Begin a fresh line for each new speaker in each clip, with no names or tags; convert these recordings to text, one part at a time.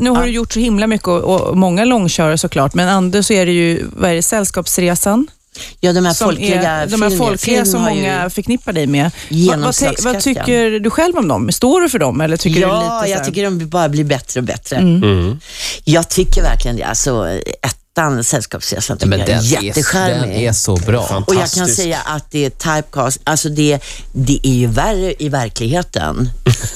nu har du gjort så himla mycket och, och många långkörare såklart, men ändå så är det ju, vad är det, Sällskapsresan?
Ja, de här
som
folkliga
är, de här
filmer-
folkliga
film
som
har ju-
många förknippar dig med. Vad, vad, te- vad
Genomslagskraft, ja.
tycker du själv om dem? Står du för dem eller tycker du lite
Ja,
så
jag
här- Mm.
tycker de bara blir bättre och bättre.
Mm.
Jag tycker verkligen det. Alltså, ettan, Sällskapsresan, tycker
Men
jag
den
är
är,
jättecharmig.
den är så bra.
Och jag kan
Fantastisk.
säga att det är typecast, alltså det, det är ju värre i verkligheten.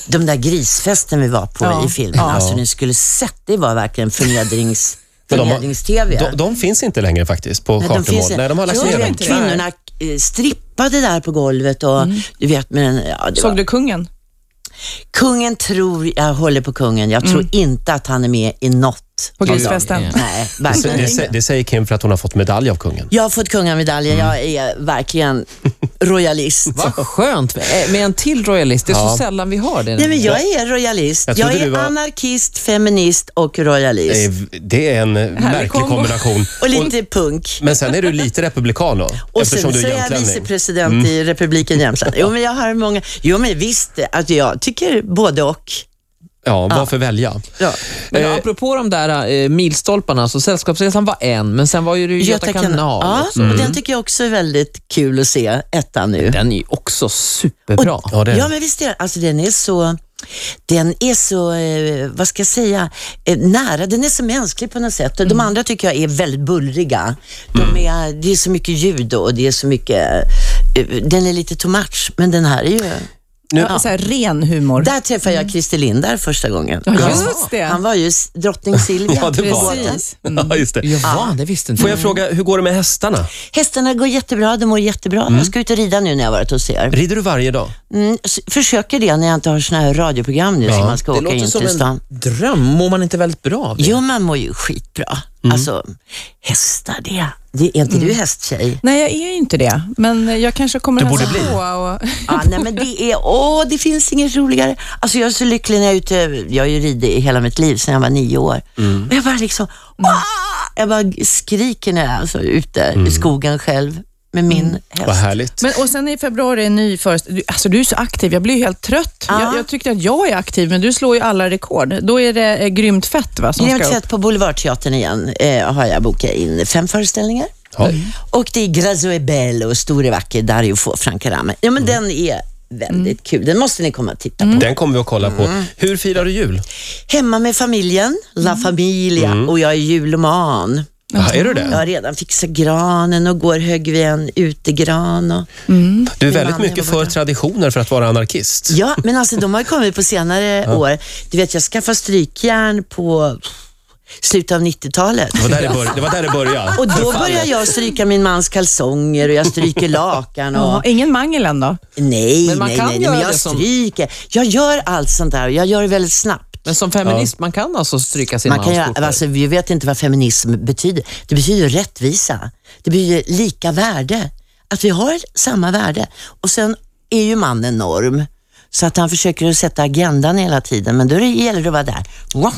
De där grisfesten vi var på
Ja.
i filmen, alltså ni skulle sett, det var verkligen förnedrings,
Men de har-
förnedrings-tv.
De, de finns inte längre faktiskt på
Nej, de finns
chartermål.
inte.
Nej, de har lagt
Jo,
ner
men
dem.
inte.
Kvinnorna eh, strippade där på golvet och du vet, men ja, det var,
Mm. Såg du kungen?
kungen tror, jag håller på kungen, jag
Mm.
tror inte att han är med i något.
På
av dem.
grisfesten?
Nej,
Det,
verkligen
det, sä- det säger Kim för att hon har fått medalj av kungen.
Jag har fått kungamedaljen, jag
Mm.
är verkligen royalist.
Vad skönt med med en till royalist. Det är så sällan vi har det.
Nej, men jag är royalist.
Jag
Jag,
trodde du
är
var-
anarkist, feminist och
Det
royalist.
är, det är en eh, märklig
kombo.
kombination.
Och lite punk.
Men sen är du lite republikan då,
Och sen
eftersom du
så
är Mm.
är jag
jämtlänning.
vicepresident i Republiken Jämtland. Jo, men jag har många... Jo, men visst, att jag tycker både och.
Ja, varför välja?
Ja.
Men
Eh,
apropå de där eh, milstolparna, så Sällskapsresan var en, men sen var ju det ju Göta, kanal.
Ja,
också. Mm.
och den tycker jag också är väldigt kul att se, ettan nu.
Den är ju också superbra.
Ja, det är
Ja,
det.
men visst är den. Alltså, den är så... Den är så, eh, vad ska jag säga, eh, nära. Den är så mänsklig på något sätt. Och De
Mm.
andra tycker jag är väldigt bullriga. De är, det är så mycket ljud och det är så mycket... eh, Den är lite too much, men den här är ju...
Ja. Så här, ren humor.
Där träffade
Mm.
jag Christer Lindar första gången.
Ja, just det.
Han var ju s- drottning Silvia.
Ja, det var
Precis.
den.
Mm.
Ja, just det.
Jaha, det visste inte
Får jag fråga, hur går det med hästarna?
Hästarna går jättebra, de mår jättebra.
Mm.
Jag ska ut och rida nu när jag varit hos er.
Rider du varje dag?
Mm, s- försöker det när jag inte har såna här radioprogram nu som man ska
Det
åka
låter
in
som
till stan.
en dröm. Mår man inte väldigt bra av det?
Jo, man mår ju skitbra. Alltså, hästar det. det är inte du hästtjej?
Nej, jag är ju inte det, men jag kanske kommer
Du borde
hälsa
bli.
på. Och...
Ja, nej, men det är, åh, det finns inget roligare. Alltså, jag är så lycklig när jag är ute. Jag har ju ridit i hela mitt liv sedan jag var nio år. Och jag bara liksom, åh, jag bara skriker när jag är alltså, ute i skogen själv med min häst.
Vad härligt.
Men, och sen i februari är en ny föreställning. Du- Alltså du är så aktiv, jag blir ju helt trött.
Ja.
Jag, jag tyckte att jag är aktiv, men du slår ju alla rekord. Då är det eh, Grymt fett va, som
Grymt
ska upp.
sett på Boulevardteatern igen eh, har jag bokat in fem föreställningar.
Ja.
Och det är Grazo e bello, Stor är vacker, Dario Fo, Franca Rame. Ja, men den är väldigt kul. Den måste ni komma och titta på.
Den kommer vi att kolla
Mm.
på. Hur firar du jul?
Hemma med familjen, La
Mm.
Familia, och jag är juloman.
Ja, är du
Jag
det?
har redan fixat granen och går hög vid en utegran. Och...
Du är
Min
väldigt
man
mycket
var borta.
för traditioner för att vara anarkist.
Ja, men alltså de har ju kommit på senare år. Du vet, jag skaffade strykjärn på slutet av 90-talet.
Det var där det, bör- det, var där det började.
Och då börjar jag stryka min mans kalsonger och jag stryker lakan och
Jaha, ingen mangel än då?
Nej,
Men man
nej,
kan
nej,
göra
men jag
det som-
stryker. Jag gör allt sånt där och jag gör det väldigt snabbt.
Men som feminist, man kan alltså stryka sin
Man kan
mans
göra,
skjortor.
alltså, vi vet inte vad feminism betyder. Det betyder ju rättvisa. Det betyder lika värde. Att vi har samma värde. Och sen är ju mannen norm. Så att han försöker att sätta agendan hela tiden, men då är det- gäller det att vara där. Wow.